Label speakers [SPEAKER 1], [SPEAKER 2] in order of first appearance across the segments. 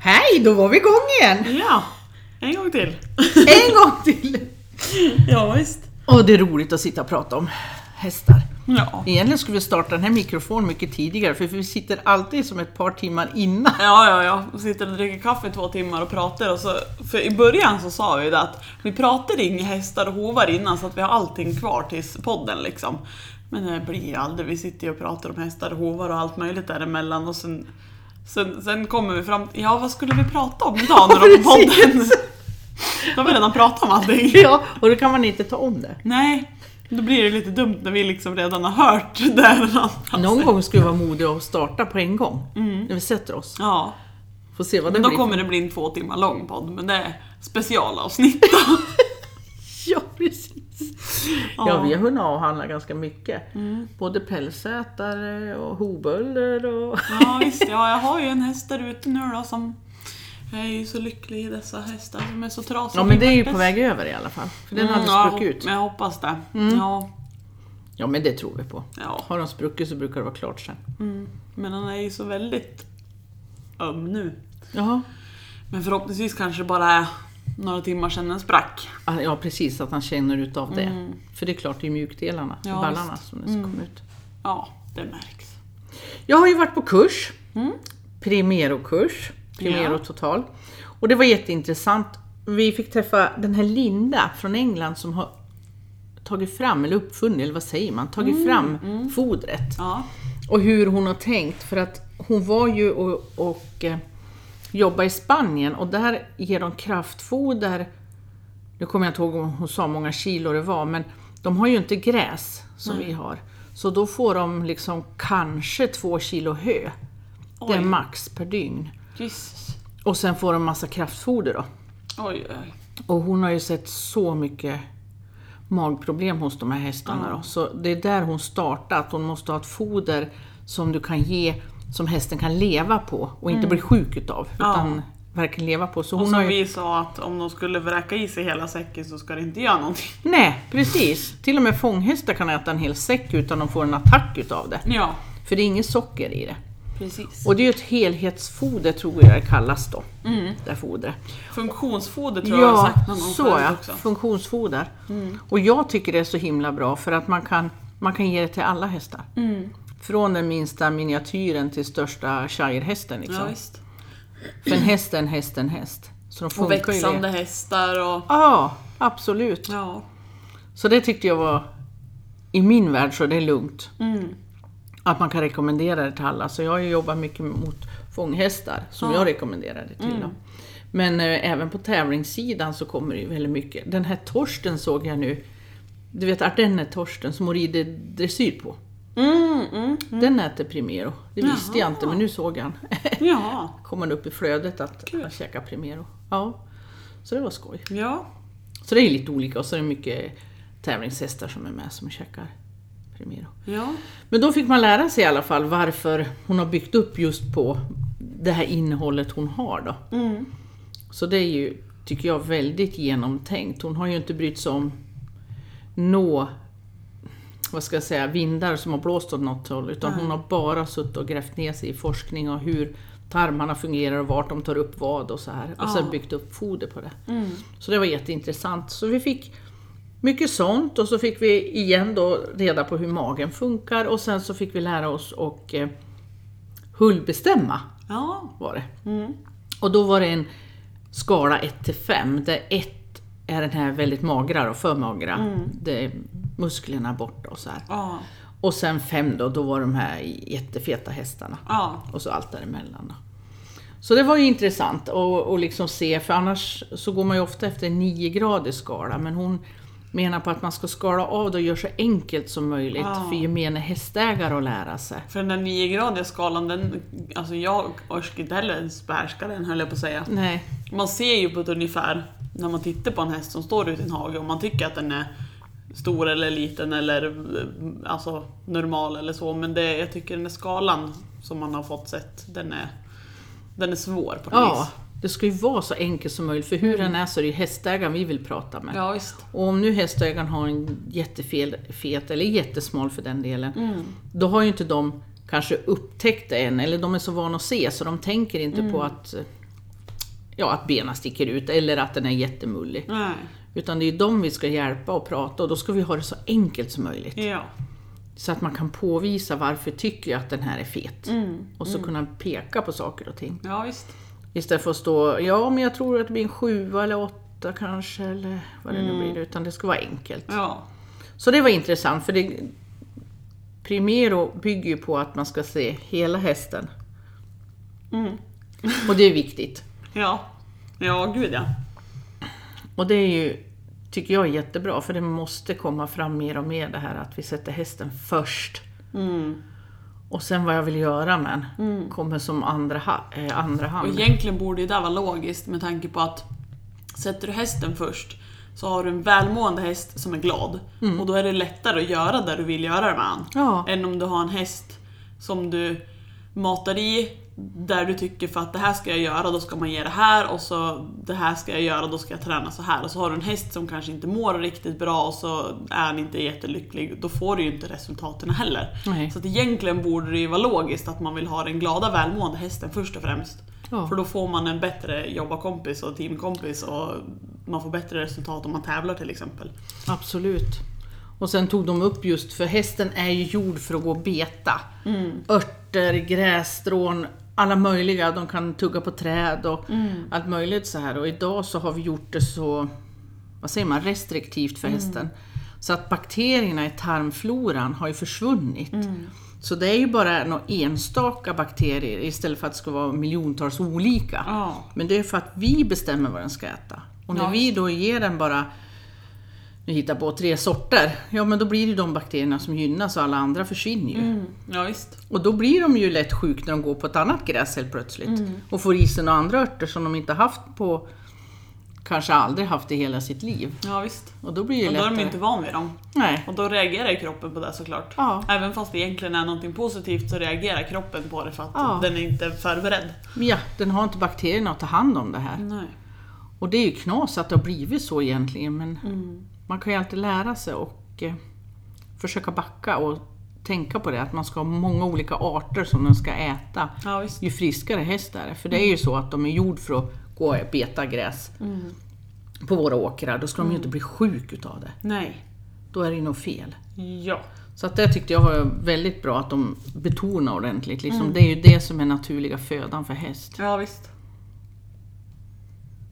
[SPEAKER 1] Hej, då var vi igång igen!
[SPEAKER 2] Ja, en gång till.
[SPEAKER 1] En gång till!
[SPEAKER 2] ja, visst.
[SPEAKER 1] Och det är roligt att sitta och prata om hästar.
[SPEAKER 2] Ja.
[SPEAKER 1] Egentligen skulle vi starta den här mikrofonen mycket tidigare för vi sitter alltid som ett par timmar innan.
[SPEAKER 2] Ja, ja, ja. Vi Sitter och dricker kaffe i två timmar och pratar. Och så, för I början så sa vi det att vi pratade inga hästar och hovar innan så att vi har allting kvar tills podden liksom. Men det blir ju aldrig. Vi sitter ju och pratar om hästar och hovar och allt möjligt däremellan och sen, sen, sen kommer vi fram till, ja vad skulle vi prata om idag när de på
[SPEAKER 1] Precis.
[SPEAKER 2] podden? Då har vi redan pratat om allting.
[SPEAKER 1] Ja, och då kan man inte ta om det.
[SPEAKER 2] Nej, då blir det lite dumt när vi liksom redan har hört det här.
[SPEAKER 1] Någon gång skulle vi vara modiga och starta på en gång. När vi sätter oss.
[SPEAKER 2] Ja,
[SPEAKER 1] Får se vad det
[SPEAKER 2] Mm. men då
[SPEAKER 1] blir.
[SPEAKER 2] kommer det bli en två timmar lång podd, men det är specialavsnitt.
[SPEAKER 1] Ja, precis. Ja, vi har hunnit avhandla ganska mycket.
[SPEAKER 2] Mm.
[SPEAKER 1] Både pälsätare och hovbölder och...
[SPEAKER 2] ja, visst. Ja, jag har ju en häst där ute nu då som... Jag är ju så lycklig i dessa hästar som är så trasiga.
[SPEAKER 1] Ja, men det är ju på väg över i alla fall. För den
[SPEAKER 2] Mm,
[SPEAKER 1] hade
[SPEAKER 2] ja, jag
[SPEAKER 1] spruckit
[SPEAKER 2] hop-
[SPEAKER 1] ut. Mm.
[SPEAKER 2] Men jag hoppas det. Ja,
[SPEAKER 1] Ja, men det tror vi på.
[SPEAKER 2] ja.
[SPEAKER 1] Har de spruckit så brukar det vara klart sen.
[SPEAKER 2] Mm. Men han är ju så väldigt öm nu.
[SPEAKER 1] Jaha.
[SPEAKER 2] Men förhoppningsvis kanske det bara är några timmar sedan den sprack.
[SPEAKER 1] Ah, Ja, precis. Att han känner utav det.
[SPEAKER 2] Mm.
[SPEAKER 1] För det är klart, det är mjukdelarna,
[SPEAKER 2] Ja, Mm.
[SPEAKER 1] ballarna, som det ska komma ut.
[SPEAKER 2] Ja, det märks.
[SPEAKER 1] Jag har ju varit på kurs.
[SPEAKER 2] Mm.
[SPEAKER 1] Primero-kurs. Primero
[SPEAKER 2] Ja.
[SPEAKER 1] total. Och det var jätteintressant. Vi fick träffa den här Linda från England som har tagit fram, eller uppfunnit, eller vad säger man, tagit
[SPEAKER 2] Mm,
[SPEAKER 1] fram fodret.
[SPEAKER 2] Ja.
[SPEAKER 1] och hur hon har tänkt. För att hon var ju och, och eh, jobbade i Spanien och där ger de kraftfoder, nu kommer jag inte ihåg om hon sa hur många kilo det var, men de har ju inte gräs som vi har. Så då får de liksom kanske två kilo hö. Det är
[SPEAKER 2] Oj.
[SPEAKER 1] max per dygn.
[SPEAKER 2] Jesus.
[SPEAKER 1] Och sen får de massa kraftfoder då.
[SPEAKER 2] Oj, oj.
[SPEAKER 1] Och hon har ju sett så mycket magproblem hos de här hästarna. Då. Så det är där hon startar, att hon måste ha ett foder som du kan ge, som hästen kan leva på och inte bli sjuk utav.
[SPEAKER 2] Mm. Ja.
[SPEAKER 1] Utan verkligen leva på. Så
[SPEAKER 2] Och
[SPEAKER 1] hon har
[SPEAKER 2] som
[SPEAKER 1] ju...
[SPEAKER 2] vi sa att om de skulle vräka i sig hela säcken så ska det inte göra någonting.
[SPEAKER 1] Nej, precis. Till och med fånghästar kan äta en hel säck utan de får en attack utav det.
[SPEAKER 2] Ja,
[SPEAKER 1] För det är inget socker i det.
[SPEAKER 2] precis.
[SPEAKER 1] Och det är ju ett helhetsfoder tror jag det kallas då.
[SPEAKER 2] Mm.
[SPEAKER 1] Det här fodret.
[SPEAKER 2] Funktionsfoder tror jag jag har
[SPEAKER 1] Ja,
[SPEAKER 2] sagt någon gång
[SPEAKER 1] så
[SPEAKER 2] förut
[SPEAKER 1] ja.
[SPEAKER 2] också. Mm.
[SPEAKER 1] Funktionsfoder. Och jag tycker det är så himla bra för att man kan, man kan ge det till alla hästar.
[SPEAKER 2] Mm.
[SPEAKER 1] Från den minsta miniatyren till största shirehästen.
[SPEAKER 2] Ja,
[SPEAKER 1] Liksom.
[SPEAKER 2] visst.
[SPEAKER 1] för en häst är en häst är en häst. Så de
[SPEAKER 2] Och
[SPEAKER 1] funkar ju.
[SPEAKER 2] växande
[SPEAKER 1] det.
[SPEAKER 2] hästar och...
[SPEAKER 1] Ja, absolut.
[SPEAKER 2] Ja.
[SPEAKER 1] Så det tyckte jag var, i min värld så är det lugnt.
[SPEAKER 2] Mm.
[SPEAKER 1] Att man kan rekommendera det till alla. Så jag har ju jobbat mycket mot fånghästar som jag rekommenderar det till.
[SPEAKER 2] Mm.
[SPEAKER 1] Dem. Men eh, även på tävlingssidan så kommer det ju väldigt mycket. Den här Torsten såg jag nu. Du vet Ardenner-Torsten som hon rider dressyr på.
[SPEAKER 2] Mm, mm.
[SPEAKER 1] Den äter Primero. Det visste jag inte men nu såg jag han.
[SPEAKER 2] Ja.
[SPEAKER 1] Kom han upp i flödet att
[SPEAKER 2] Kul.
[SPEAKER 1] att käka Primero. Ja. Så det var skoj.
[SPEAKER 2] Ja.
[SPEAKER 1] Så det är lite olika och så är det mycket tävlingshästar som är med som käkar Primero.
[SPEAKER 2] Ja.
[SPEAKER 1] Men då fick man lära sig i alla fall varför hon har byggt upp just på det här innehållet hon har då.
[SPEAKER 2] Mm.
[SPEAKER 1] Så det är ju, tycker jag, väldigt genomtänkt. Hon har ju inte brytt sig om nå, vad ska jag säga, vindar som har blåst åt något håll, utan hon har bara suttit och grävt ner sig i forskning och hur tarmarna fungerar och vart de tar upp vad och så här. Och sen
[SPEAKER 2] Ja.
[SPEAKER 1] byggt upp foder på det.
[SPEAKER 2] Mm.
[SPEAKER 1] Så det var jätteintressant. Så vi fick mycket sånt och så fick vi igen då reda på hur magen funkar och sen så fick vi lära oss och eh, hullbestämma
[SPEAKER 2] Ja.
[SPEAKER 1] var det.
[SPEAKER 2] Mm.
[SPEAKER 1] Och då var det en skala 1 till 5 där 1 är den här väldigt magra och för magra.
[SPEAKER 2] Mm.
[SPEAKER 1] Det är musklerna borta och så här.
[SPEAKER 2] Ja.
[SPEAKER 1] Och sen 5 då, då var de här jättefeta hästarna
[SPEAKER 2] Ja.
[SPEAKER 1] och så allt däremellan. Då. Så det var ju intressant att att liksom se, för annars så går man ju ofta efter en 9-gradig skala, men hon menar på att man ska skala av det och göra så enkelt som möjligt
[SPEAKER 2] Ja.
[SPEAKER 1] för gemene hästägare att lära sig.
[SPEAKER 2] För den där 9-gradiga skalan, den, alltså jag orkar inte heller ens behärska den höll jag på att säga.
[SPEAKER 1] Nej,
[SPEAKER 2] Man ser ju på ett ungefär när man tittar på en häst som står ute i en hage om man tycker att den är stor eller liten eller eh, alltså, normal eller så. Men det, jag tycker den där skalan som man har fått sett, den är, den är svår på något
[SPEAKER 1] ja,
[SPEAKER 2] vis.
[SPEAKER 1] det ska ju vara så enkelt som möjligt, för hur den är så är det ju hästägaren vi vill prata med.
[SPEAKER 2] Ja, visst.
[SPEAKER 1] Och om nu hästägaren har en jättefet, eller jättesmal för den delen, då har ju inte de kanske upptäckt det än, eller de är så vana att se så de tänker inte på att eh, ja, att benen sticker ut eller att den är jättemullig.
[SPEAKER 2] Nej.
[SPEAKER 1] Utan det är ju dem vi ska hjälpa och prata och då ska vi ha det så enkelt som möjligt.
[SPEAKER 2] Ja.
[SPEAKER 1] Så att man kan påvisa varför tycker jag att den här är fet. Och så kunna peka på saker och ting.
[SPEAKER 2] ja, visst.
[SPEAKER 1] Istället för att stå, ja men jag tror att det blir en sjua eller åtta kanske eller vad det nu blir. Utan det ska vara enkelt.
[SPEAKER 2] Ja.
[SPEAKER 1] Så det var intressant för det Primero bygger ju på att man ska se hela hästen. Och det är viktigt.
[SPEAKER 2] Ja. Ja, gud ja.
[SPEAKER 1] Och det är ju, tycker jag är jättebra, för det måste komma fram mer och mer det här att vi sätter hästen först. Och sen vad jag vill göra med den kommer som andra, ha- eh, andra
[SPEAKER 2] Och
[SPEAKER 1] hand.
[SPEAKER 2] egentligen borde ju det vara logiskt med tanke på att sätter du hästen först så har du en välmående häst som är glad. Och då är det lättare att göra det du vill göra med han.
[SPEAKER 1] Ja.
[SPEAKER 2] Än om du har en häst som du matar i där du tycker för att det här ska jag göra, då ska man ge det här och så det här ska jag göra, då ska jag träna så här. Och så har du en häst som kanske inte mår riktigt bra och så är han inte jättelycklig. Då får du ju inte resultaten heller.
[SPEAKER 1] Nej.
[SPEAKER 2] Så att egentligen borde det ju vara logiskt att man vill ha den glada välmående hästen först och främst.
[SPEAKER 1] Ja.
[SPEAKER 2] För då får man en bättre jobbarkompis och teamkompis och man får bättre resultat om man tävlar till exempel.
[SPEAKER 1] Absolut. Och sen tog de upp just, för hästen är ju gjord för att gå och beta. Örter, grässtrån, alla möjliga. De kan tugga på träd och allt möjligt så här. Och idag så har vi gjort det så, vad säger man, restriktivt för hästen. Så att bakterierna i tarmfloran har ju försvunnit. Så det är ju bara några enstaka bakterier istället för att det ska vara miljontals olika.
[SPEAKER 2] Ja.
[SPEAKER 1] Men det är för att vi bestämmer vad den ska äta. Och när
[SPEAKER 2] Ja,
[SPEAKER 1] vi då ger den bara nu hittar på tre sorter, ja men då blir det de bakterierna som gynnas och alla andra försvinner
[SPEAKER 2] Mm.
[SPEAKER 1] ju.
[SPEAKER 2] Ja, visst.
[SPEAKER 1] Och då blir de ju lätt sjuka när de går på ett annat gräs helt plötsligt
[SPEAKER 2] Mm.
[SPEAKER 1] och får i sig några andra örter som de inte haft på, kanske aldrig haft i hela sitt liv.
[SPEAKER 2] Ja, visst.
[SPEAKER 1] Och då blir det
[SPEAKER 2] Och då är
[SPEAKER 1] lättare.
[SPEAKER 2] de inte van vid dem.
[SPEAKER 1] Nej.
[SPEAKER 2] Och då reagerar ju kroppen på det såklart.
[SPEAKER 1] Ja.
[SPEAKER 2] Även fast det egentligen är någonting positivt så reagerar kroppen på det för att
[SPEAKER 1] Ja.
[SPEAKER 2] den är inte förberedd.
[SPEAKER 1] Ja, den har inte bakterierna att ta hand om det här.
[SPEAKER 2] Nej.
[SPEAKER 1] Och det är ju knas att det har blivit så egentligen men man kan ju alltid lära sig och eh, försöka backa och tänka på det att man ska ha många olika arter som den ska äta.
[SPEAKER 2] Ja, visst.
[SPEAKER 1] ju friskare häst är det. För det är ju så att de är gjord för att gå och beta gräs på våra åkrar. Då ska de ju inte bli sjuk utav det.
[SPEAKER 2] Nej.
[SPEAKER 1] Då är det ju något fel.
[SPEAKER 2] Ja.
[SPEAKER 1] Så att det tyckte jag var väldigt bra att de betonar ordentligt. Liksom, Det är ju det som är naturliga födan för häst.
[SPEAKER 2] Ja, visst.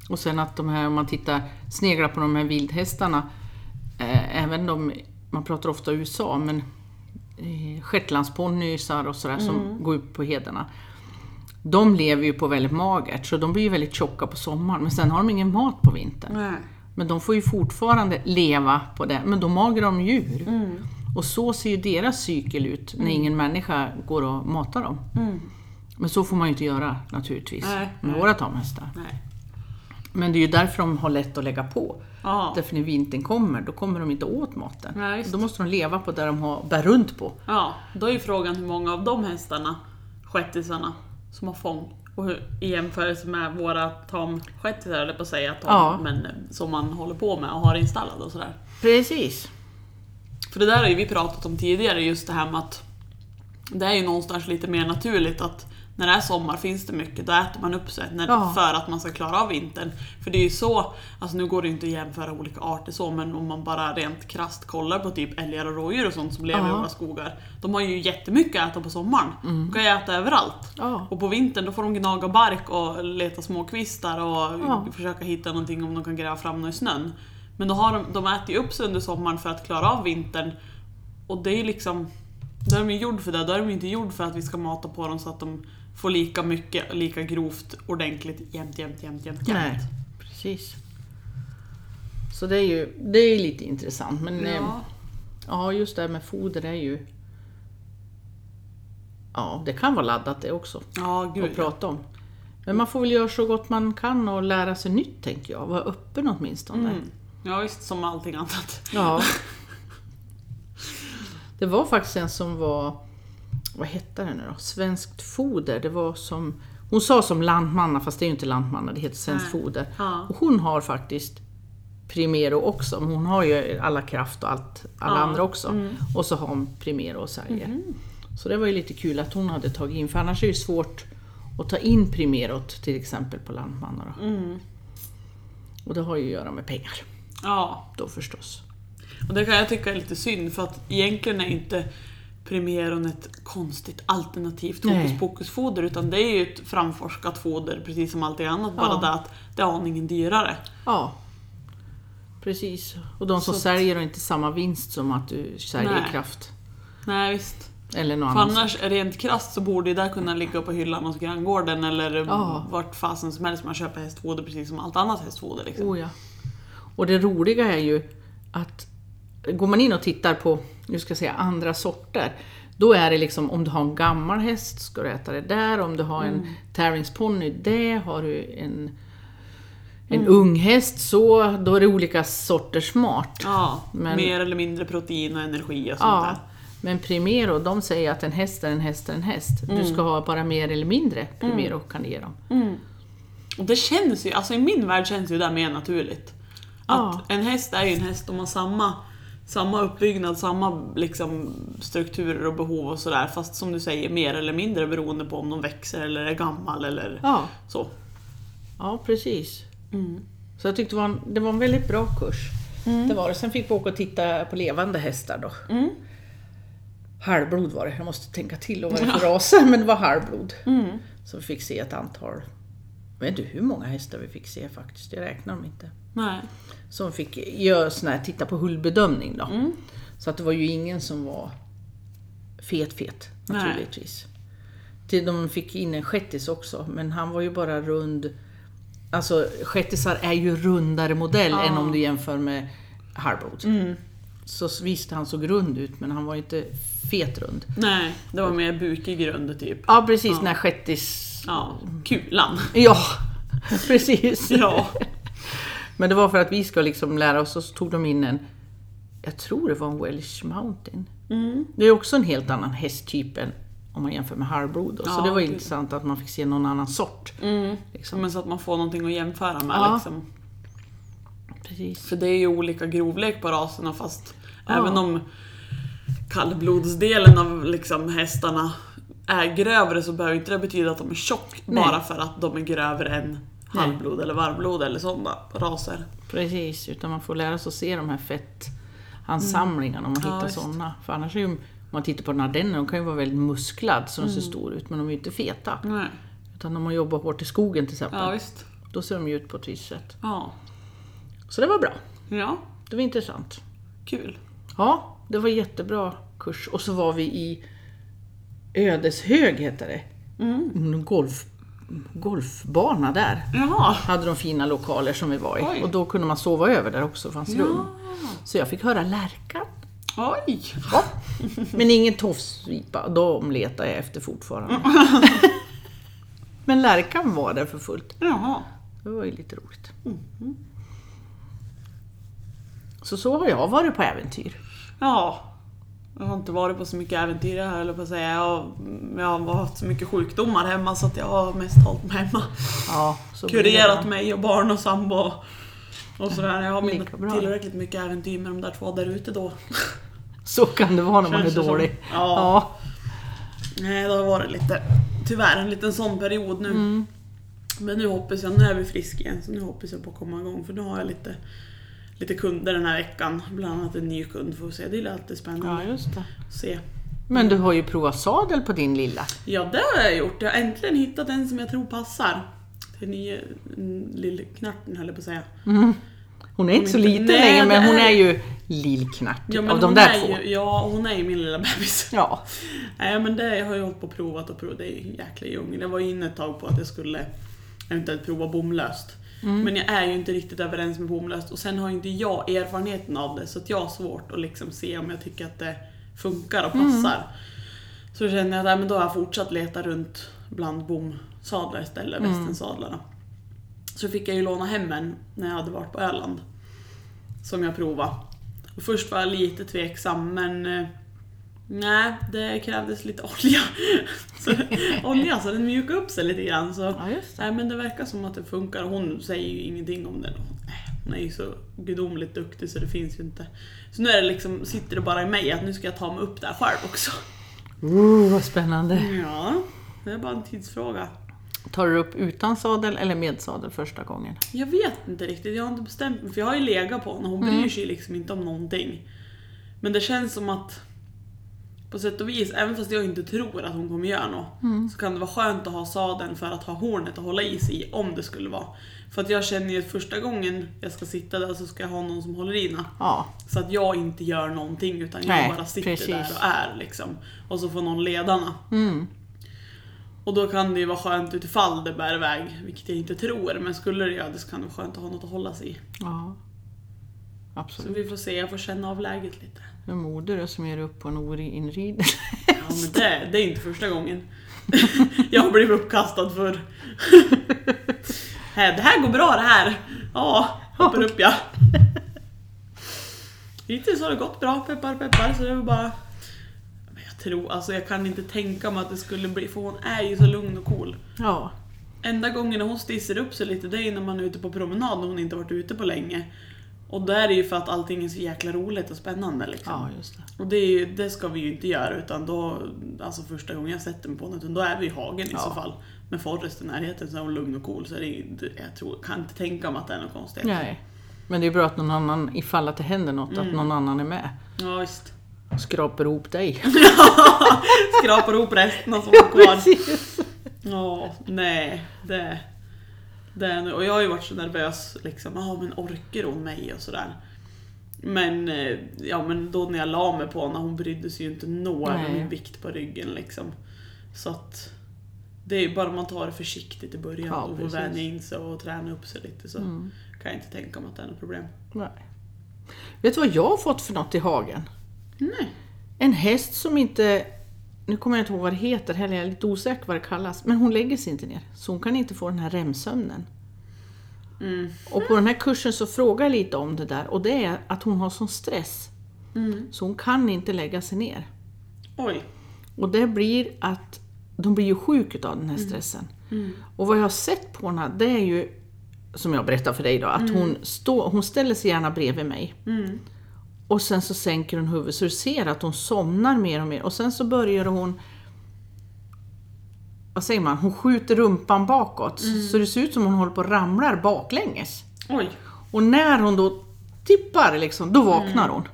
[SPEAKER 1] Och sen att de här, om man tittar, sneglar på de här vildhästarna, eh, även de, man pratar ofta USA, men eh, shetlandsponnysar och sådär
[SPEAKER 2] Mm.
[SPEAKER 1] som går ut på hederna. De lever ju på väldigt magert, så de blir ju väldigt tjocka på sommaren, men sen har de ingen mat på vintern.
[SPEAKER 2] Nej.
[SPEAKER 1] Men de får ju fortfarande leva på det, men då magar de djur.
[SPEAKER 2] Mm.
[SPEAKER 1] Och så ser ju deras cykel ut när ingen människa går och matar dem.
[SPEAKER 2] Mm.
[SPEAKER 1] Men så får man ju inte göra naturligtvis
[SPEAKER 2] Nej,
[SPEAKER 1] med
[SPEAKER 2] nej.
[SPEAKER 1] våra tamhästar.
[SPEAKER 2] Nej.
[SPEAKER 1] Men det är ju därför de har lätt att lägga på.
[SPEAKER 2] Ja.
[SPEAKER 1] Därför när vintern kommer, då kommer de inte åt maten.
[SPEAKER 2] Nej, just
[SPEAKER 1] då måste de leva på det de har, bär runt på.
[SPEAKER 2] ja. Då är ju frågan hur många av de hästarna, shettisarna, som har fång. Och hur, i jämförelse med våra tamshettisar, eller på att säga tam,
[SPEAKER 1] Ja.
[SPEAKER 2] men eh, som man håller på med och har installad och sådär.
[SPEAKER 1] Precis.
[SPEAKER 2] För det där har ju vi pratat om tidigare, just det här med att det är ju någonstans lite mer naturligt att när det är sommar finns det mycket, då äter man upp sig när,
[SPEAKER 1] Ja.
[SPEAKER 2] för att man ska klara av vintern. För det är ju så, alltså nu går det ju inte att jämföra olika arter så, men om man bara rent krasst kollar på typ älgar och rådjur och sånt som lever i
[SPEAKER 1] Ja. Mm.
[SPEAKER 2] våra skogar. De har ju jättemycket att äta på sommaren. De kan ju äta överallt.
[SPEAKER 1] Ja.
[SPEAKER 2] Och på vintern då får de gnaga bark och leta små kvistar och
[SPEAKER 1] Ja.
[SPEAKER 2] försöka hitta någonting om de kan gräva fram något i snön. Men då har de, de äter ju upp sig under sommaren för att klara av vintern. Och det är ju liksom... Då är de ju gjord för det. Då är de ju inte gjord för att vi ska mata på dem så att de får lika mycket, lika grovt, ordentligt, jämt, jämt, jämt, jämt, jämt.
[SPEAKER 1] Nej, precis. Så det är ju det är ju lite intressant. Men ja.
[SPEAKER 2] Ja.
[SPEAKER 1] ja, just det här med foder är ju... Ja, det kan vara laddat det också.
[SPEAKER 2] ja, gud.
[SPEAKER 1] att prata om. Men man får väl göra så gott man kan och lära sig nytt, tänker jag. Vara öppen åtminstone.
[SPEAKER 2] Mm. Ja, visst, som allting annat.
[SPEAKER 1] Ja. Det var faktiskt en som var, vad hette det nu då, Svenskt foder. Det var som, hon sa som lantmanna, fast det är ju inte lantmanna, det heter Svenskt
[SPEAKER 2] Nej.
[SPEAKER 1] foder.
[SPEAKER 2] Ja.
[SPEAKER 1] Och hon har faktiskt Primero också, men hon har ju alla kraft och allt, alla
[SPEAKER 2] Ja. Mm. Mhm.
[SPEAKER 1] andra också. Och så har hon Primero och säljer. Så det var ju lite kul att hon hade tagit in, för annars är det ju svårt och ta in Primerot till exempel på Lantmanna. Då.
[SPEAKER 2] Mm.
[SPEAKER 1] Och det har ju att göra med pengar
[SPEAKER 2] Ja,
[SPEAKER 1] då förstås.
[SPEAKER 2] och det kan jag tycka är lite synd för att egentligen är inte Primeron ett konstigt alternativt
[SPEAKER 1] Nej.
[SPEAKER 2] hokus pokus foder utan det är ju ett framforskat foder precis som allting annat bara
[SPEAKER 1] Ja.
[SPEAKER 2] det att det är aningen dyrare.
[SPEAKER 1] Ja, precis. Och de som
[SPEAKER 2] Så att-
[SPEAKER 1] säljer har inte samma vinst som att du säljer
[SPEAKER 2] Nej.
[SPEAKER 1] kraft.
[SPEAKER 2] Nej visst.
[SPEAKER 1] Eller någon
[SPEAKER 2] För
[SPEAKER 1] annan.
[SPEAKER 2] annars, rent krasst så borde ju det kunna ligga på hyllan hos granngården eller
[SPEAKER 1] Ja.
[SPEAKER 2] vart fasen som helst man köper hästfoder precis som allt annat hästfoder. Liksom.
[SPEAKER 1] Oh, ja. Och det roliga är ju att går man in och tittar på nu ska jag säga, andra sorter, då är det liksom om du har en gammal häst ska du äta det där, om du har
[SPEAKER 2] Mm.
[SPEAKER 1] en tävlingsponny det, har du en, en
[SPEAKER 2] Mm.
[SPEAKER 1] ung häst så, då är det olika sorters mat.
[SPEAKER 2] Ja,
[SPEAKER 1] Men-
[SPEAKER 2] mer eller mindre protein och energi och sånt
[SPEAKER 1] Ja, men Primero, de säger att en häst är en häst är en häst.
[SPEAKER 2] Mm.
[SPEAKER 1] Du ska ha bara mer eller mindre Primero kan det ge dem.
[SPEAKER 2] där. Mm. Och det känns ju, alltså i min värld känns ju det mer naturligt. Att en häst är ju en häst, de har samma, samma uppbyggnad, samma liksom, strukturer och behov och sådär. Fast som du säger, mer eller mindre beroende på om de växer eller är gammal eller
[SPEAKER 1] Ja,
[SPEAKER 2] så.
[SPEAKER 1] ja precis.
[SPEAKER 2] Mm.
[SPEAKER 1] Så jag tyckte det var en, det var en väldigt bra kurs. Det var det. Sen fick vi åka och titta på levande hästar då.
[SPEAKER 2] Mm.
[SPEAKER 1] Halvblod var det, jag måste tänka till och vad det för raser, men det var halvblod.
[SPEAKER 2] Mm.
[SPEAKER 1] Så vi fick se ett antal, jag vet inte hur många hästar vi fick se faktiskt, jag räknar dem inte.
[SPEAKER 2] Nej.
[SPEAKER 1] Som fick göra sån här, titta på hullbedömning då.
[SPEAKER 2] Mm.
[SPEAKER 1] Så att det var ju ingen som var fet fet
[SPEAKER 2] Nej.
[SPEAKER 1] naturligtvis. Till de fick in en shettis också, men han var ju bara rund. Alltså shettisar är ju rundare modell
[SPEAKER 2] Ja.
[SPEAKER 1] än om du jämför med Harbrod.
[SPEAKER 2] Mm.
[SPEAKER 1] Så visst, han såg rund ut, men han var ju inte fet rund.
[SPEAKER 2] Nej, det var mer bukig grund typ.
[SPEAKER 1] Ja, precis, när shettis...
[SPEAKER 2] Ja, kulan.
[SPEAKER 1] Ja, precis.
[SPEAKER 2] Ja.
[SPEAKER 1] Men det var för att vi ska liksom lära oss, och så tog de in en, jag tror det var en Welsh Mountain.
[SPEAKER 2] Mm.
[SPEAKER 1] Det är också en helt annan hästtyp än om man jämför med Harbrod. då. så
[SPEAKER 2] Ja,
[SPEAKER 1] det var
[SPEAKER 2] gud.
[SPEAKER 1] intressant att man fick se någon annan sort.
[SPEAKER 2] Mm.
[SPEAKER 1] Liksom.
[SPEAKER 2] Men så att man får någonting att jämföra med.
[SPEAKER 1] Ja.
[SPEAKER 2] Liksom.
[SPEAKER 1] Precis.
[SPEAKER 2] För det är ju olika grovlek på raserna fast
[SPEAKER 1] Ja.
[SPEAKER 2] även om kallblodsdelen av liksom, hästarna är grövre så behöver inte det betyda att de är tjock
[SPEAKER 1] Nej.
[SPEAKER 2] bara för att de är grövre än halvblod eller varvblod eller sådana raser.
[SPEAKER 1] Precis, utan man får lära sig att se de här fettansamlingarna om man
[SPEAKER 2] Mm. Ja,
[SPEAKER 1] hittar
[SPEAKER 2] visst.
[SPEAKER 1] sådana. För annars är ju, om man tittar på den här dennen, de kan ju vara väldigt musklad så de
[SPEAKER 2] Mm.
[SPEAKER 1] ser stora ut, men de är ju inte feta.
[SPEAKER 2] Nej.
[SPEAKER 1] Utan om man jobbar hårt i skogen till exempel,
[SPEAKER 2] Mm. Ja, visst.
[SPEAKER 1] då ser de ju ut på ett visst sätt.
[SPEAKER 2] Ja.
[SPEAKER 1] Så det var bra.
[SPEAKER 2] ja,
[SPEAKER 1] Det var intressant.
[SPEAKER 2] kul.
[SPEAKER 1] Ja, det var jättebra kurs. Och så var vi i Ödeshög, heter det.
[SPEAKER 2] Mm.
[SPEAKER 1] En golf, golfbana där.
[SPEAKER 2] Jaha.
[SPEAKER 1] hade de fina lokaler som vi var i.
[SPEAKER 2] Oj.
[SPEAKER 1] Och då kunde man sova över där också, det fanns rum.
[SPEAKER 2] Ja.
[SPEAKER 1] Så jag fick höra lärkan.
[SPEAKER 2] Oj!
[SPEAKER 1] Men ingen tofsvipa, de letar jag efter fortfarande. Men lärkan var där för fullt.
[SPEAKER 2] Jaha.
[SPEAKER 1] Det var ju lite roligt.
[SPEAKER 2] Mm-hmm.
[SPEAKER 1] Så så har jag varit på äventyr.
[SPEAKER 2] Ja. Jag har inte varit på så mycket äventyr här höll jag på att säga. Jag, jag har haft så mycket sjukdomar hemma så att jag har mest hållit mig hemma.
[SPEAKER 1] Ja, så blir det
[SPEAKER 2] Kurerat
[SPEAKER 1] då.
[SPEAKER 2] mig och barn och sambo och- och sådär. Jag har
[SPEAKER 1] Lika
[SPEAKER 2] inte
[SPEAKER 1] bra.
[SPEAKER 2] tillräckligt mycket äventyr med de där två där ute då.
[SPEAKER 1] Så kan det vara när man är
[SPEAKER 2] Känns det som.
[SPEAKER 1] dålig.
[SPEAKER 2] Ja. Nej, det har varit lite, tyvärr, en liten sån period nu.
[SPEAKER 1] Mm.
[SPEAKER 2] Men nu hoppas jag, nu är vi friska igen så nu hoppas jag på att komma igång för nu har jag lite, lite kunder den här veckan. Bland annat en ny kund får vi se. Det är ju alltid spännande
[SPEAKER 1] just det.
[SPEAKER 2] att se
[SPEAKER 1] Men du har ju provat sadel på din lilla.
[SPEAKER 2] Ja, det har jag gjort. Jag har äntligen hittat en som jag tror passar. Till nya mm, lillknarten höll jag på att säga.
[SPEAKER 1] Mm. Hon är inte så
[SPEAKER 2] inte-
[SPEAKER 1] liten
[SPEAKER 2] Nej,
[SPEAKER 1] längre, men
[SPEAKER 2] det
[SPEAKER 1] hon
[SPEAKER 2] är-
[SPEAKER 1] är ju lillknartig
[SPEAKER 2] Ja, men
[SPEAKER 1] av de
[SPEAKER 2] hon
[SPEAKER 1] där två.
[SPEAKER 2] är ju, ja, hon är ju min lilla bebis.
[SPEAKER 1] Ja.
[SPEAKER 2] Nej, men det har jag hållit på och provat och provat. Det är ju en jäkla djungel. Jag var ju inne ett tag på att jag skulle eventuellt prova bomlöst. Men jag är ju inte riktigt överens med bomlöst och sen har ju inte jag erfarenheten av det så att jag har svårt att liksom se om jag tycker att det funkar och passar. Så känner jag att nej, men då har jag fortsatt leta runt bland bomsadlar istället,
[SPEAKER 1] Mm.
[SPEAKER 2] västensadlarna. Så fick jag ju låna hem en när jag hade varit på Öland. Som jag provade. Och först var jag lite tveksam men eh, nej, det krävdes lite olja. så, olja så den mjukade upp sig lite grann. Så,
[SPEAKER 1] Ja, just det.
[SPEAKER 2] nej, men det verkar som att det funkar. Hon säger ju ingenting om det. Hon är ju så gudomligt duktig så det finns ju inte. Så nu är det liksom, sitter det bara i mig att nu ska jag ta mig upp där själv också.
[SPEAKER 1] Ooh, vad spännande.
[SPEAKER 2] Ja, det är bara en tidsfråga.
[SPEAKER 1] Tar du upp utan sadel eller med sadel första gången?
[SPEAKER 2] Jag vet inte riktigt, jag har inte bestämt mig. För jag har ju legat på henne, hon bryr sig liksom inte om någonting. Men det känns som att på sätt och vis, även fast jag inte tror att hon kommer göra något, så kan det vara skönt att ha sadeln för att ha hornet att hålla i sig i om det skulle vara. För att jag känner ju att första gången jag ska sitta där så ska jag ha någon som håller i henne.
[SPEAKER 1] Ja,
[SPEAKER 2] Så att jag inte gör någonting utan jag
[SPEAKER 1] Nej,
[SPEAKER 2] bara sitter
[SPEAKER 1] precis. Mm.
[SPEAKER 2] där och är liksom. Och så får någon ledarna. Och då kan det ju vara skönt utifall det bär iväg, vilket jag inte tror. Men skulle det göra det så kan det vara skönt att ha något att hålla sig i.
[SPEAKER 1] ja.
[SPEAKER 2] Så
[SPEAKER 1] absolut.
[SPEAKER 2] vi får se, jag får känna av läget lite.
[SPEAKER 1] Hur moder du som ger upp på en orinrid.
[SPEAKER 2] Ja men det, det är inte första gången. jag har blivit uppkastad för. det här går bra det här. Ja, hoppar upp jag. Hittills har det gått bra, peppar peppar. Så det var bara... Men jag tror, alltså jag kan inte tänka mig att det skulle bli, för hon är ju så lugn och cool.
[SPEAKER 1] ja,
[SPEAKER 2] Enda gången när hon stissar upp sig lite, det är när man är ute på promenad och hon inte varit ute på länge. Och där är det ju för att allting är så jäkla roligt och spännande liksom.
[SPEAKER 1] ja, just det.
[SPEAKER 2] Och det, är ju, det ska vi ju inte göra utan då, alltså första gången jag sätter mig på något, utan då är vi i hagen i
[SPEAKER 1] Ja.
[SPEAKER 2] så fall. Men Forrest i närheten så är hon lugn och cool så det är, ju- det- jag tror, kan inte tänka mig att det Mm. är något konstigt.
[SPEAKER 1] Nej. Men det är bra att någon annan, ifall att det händer något, att någon annan är med.
[SPEAKER 2] Ja visst.
[SPEAKER 1] Och skrapar ihop dig.
[SPEAKER 2] Skrapar ihop resterna som var kvar.
[SPEAKER 1] Precis.
[SPEAKER 2] Ja, nej. Det, det är nu. Och jag har ju varit så nervös liksom, ja men orkar hon mig och sådär. Men, eh, ja, men då när jag la mig på henne, hon brydde sig ju inte nå över
[SPEAKER 1] Nej.
[SPEAKER 2] min vikt på ryggen liksom. Så att det är ju bara man tar det försiktigt i början
[SPEAKER 1] Ja,
[SPEAKER 2] och får
[SPEAKER 1] precis. Mm.
[SPEAKER 2] vänja in sig och träna upp sig lite så kan jag inte tänka mig att det är något problem.
[SPEAKER 1] Nej. Vet du vad jag har fått för något i hagen?
[SPEAKER 2] Nej.
[SPEAKER 1] En häst som inte, nu kommer jag inte ihåg vad det heter heller, jag är lite osäker vad det kallas, men hon lägger sig inte ner. Så hon kan inte få den här remsömnen.
[SPEAKER 2] Mm.
[SPEAKER 1] Och på den här kursen så frågar jag lite om det där och det är att hon har sån stress.
[SPEAKER 2] Mm.
[SPEAKER 1] Så hon kan inte lägga sig ner.
[SPEAKER 2] Oj.
[SPEAKER 1] Och det blir att de blir ju sjuka av den här stressen. Och vad jag har sett på henne, det är ju, som jag berättar för dig då, att hon, står, hon ställer sig gärna bredvid mig.
[SPEAKER 2] Mm.
[SPEAKER 1] Och sen så sänker hon huvudet så du ser att hon somnar mer och mer. Och sen så börjar hon vad säger man, hon skjuter rumpan bakåt.
[SPEAKER 2] Mm.
[SPEAKER 1] Så det ser ut som hon håller på och ramlar baklänges.
[SPEAKER 2] Oj.
[SPEAKER 1] Och när hon då tippar, liksom,
[SPEAKER 2] Mm.
[SPEAKER 1] då vaknar hon.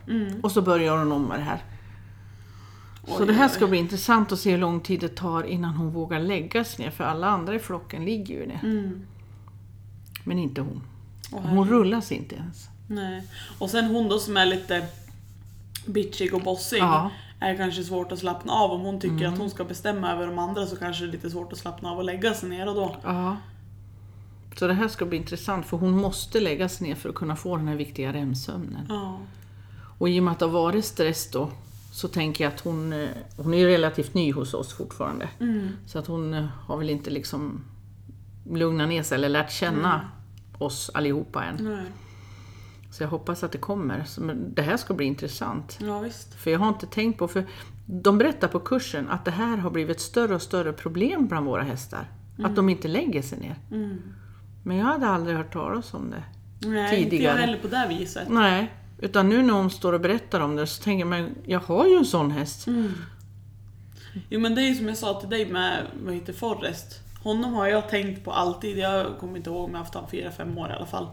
[SPEAKER 1] Och så börjar hon om med det här. Så
[SPEAKER 2] Oj,
[SPEAKER 1] det här
[SPEAKER 2] oj,
[SPEAKER 1] ska bli intressant att se hur lång tid det tar innan hon vågar lägga sig ner. För alla andra i flocken ligger ju ner.
[SPEAKER 2] Mm.
[SPEAKER 1] Men inte hon.
[SPEAKER 2] Åh,
[SPEAKER 1] Hon rullas inte ens.
[SPEAKER 2] Nej. Och sen hon då som är lite bitchig och bossig
[SPEAKER 1] Ja. Mm.
[SPEAKER 2] är kanske svårt att slappna av. Om hon tycker att hon ska bestämma över de andra så kanske det är lite svårt att slappna av och lägga sig ner och då.
[SPEAKER 1] Ja. Så det här ska bli intressant för hon måste lägga sig ner för att kunna få den här viktiga REM-sömnen.
[SPEAKER 2] Ja.
[SPEAKER 1] Och i och med att det har varit stress då så tänker jag att hon, eh, hon är ju relativt ny hos oss fortfarande. Så att hon eh, har väl inte liksom lugnat ner sig eller lärt känna oss allihopa än.
[SPEAKER 2] Nej.
[SPEAKER 1] Så jag hoppas att det kommer. Så, men det här ska bli intressant.
[SPEAKER 2] ja visst.
[SPEAKER 1] För jag har inte tänkt på, för de berättar på kursen att det här har blivit ett större och större problem bland våra hästar. Att de inte lägger sig ner.
[SPEAKER 2] Mm.
[SPEAKER 1] Men jag hade aldrig hört talas om det.
[SPEAKER 2] Nej, inte jag
[SPEAKER 1] Tidigare.
[SPEAKER 2] heller på det viset.
[SPEAKER 1] Nej, utan nu när hon står och berättar om det så tänker man, jag har ju en sån häst.
[SPEAKER 2] Mm. Jo men det är ju som jag sa till dig med, vad heter Forrest? Honom har jag tänkt på alltid, jag kommer inte ihåg om jag har haft han 4-5 år i alla fall.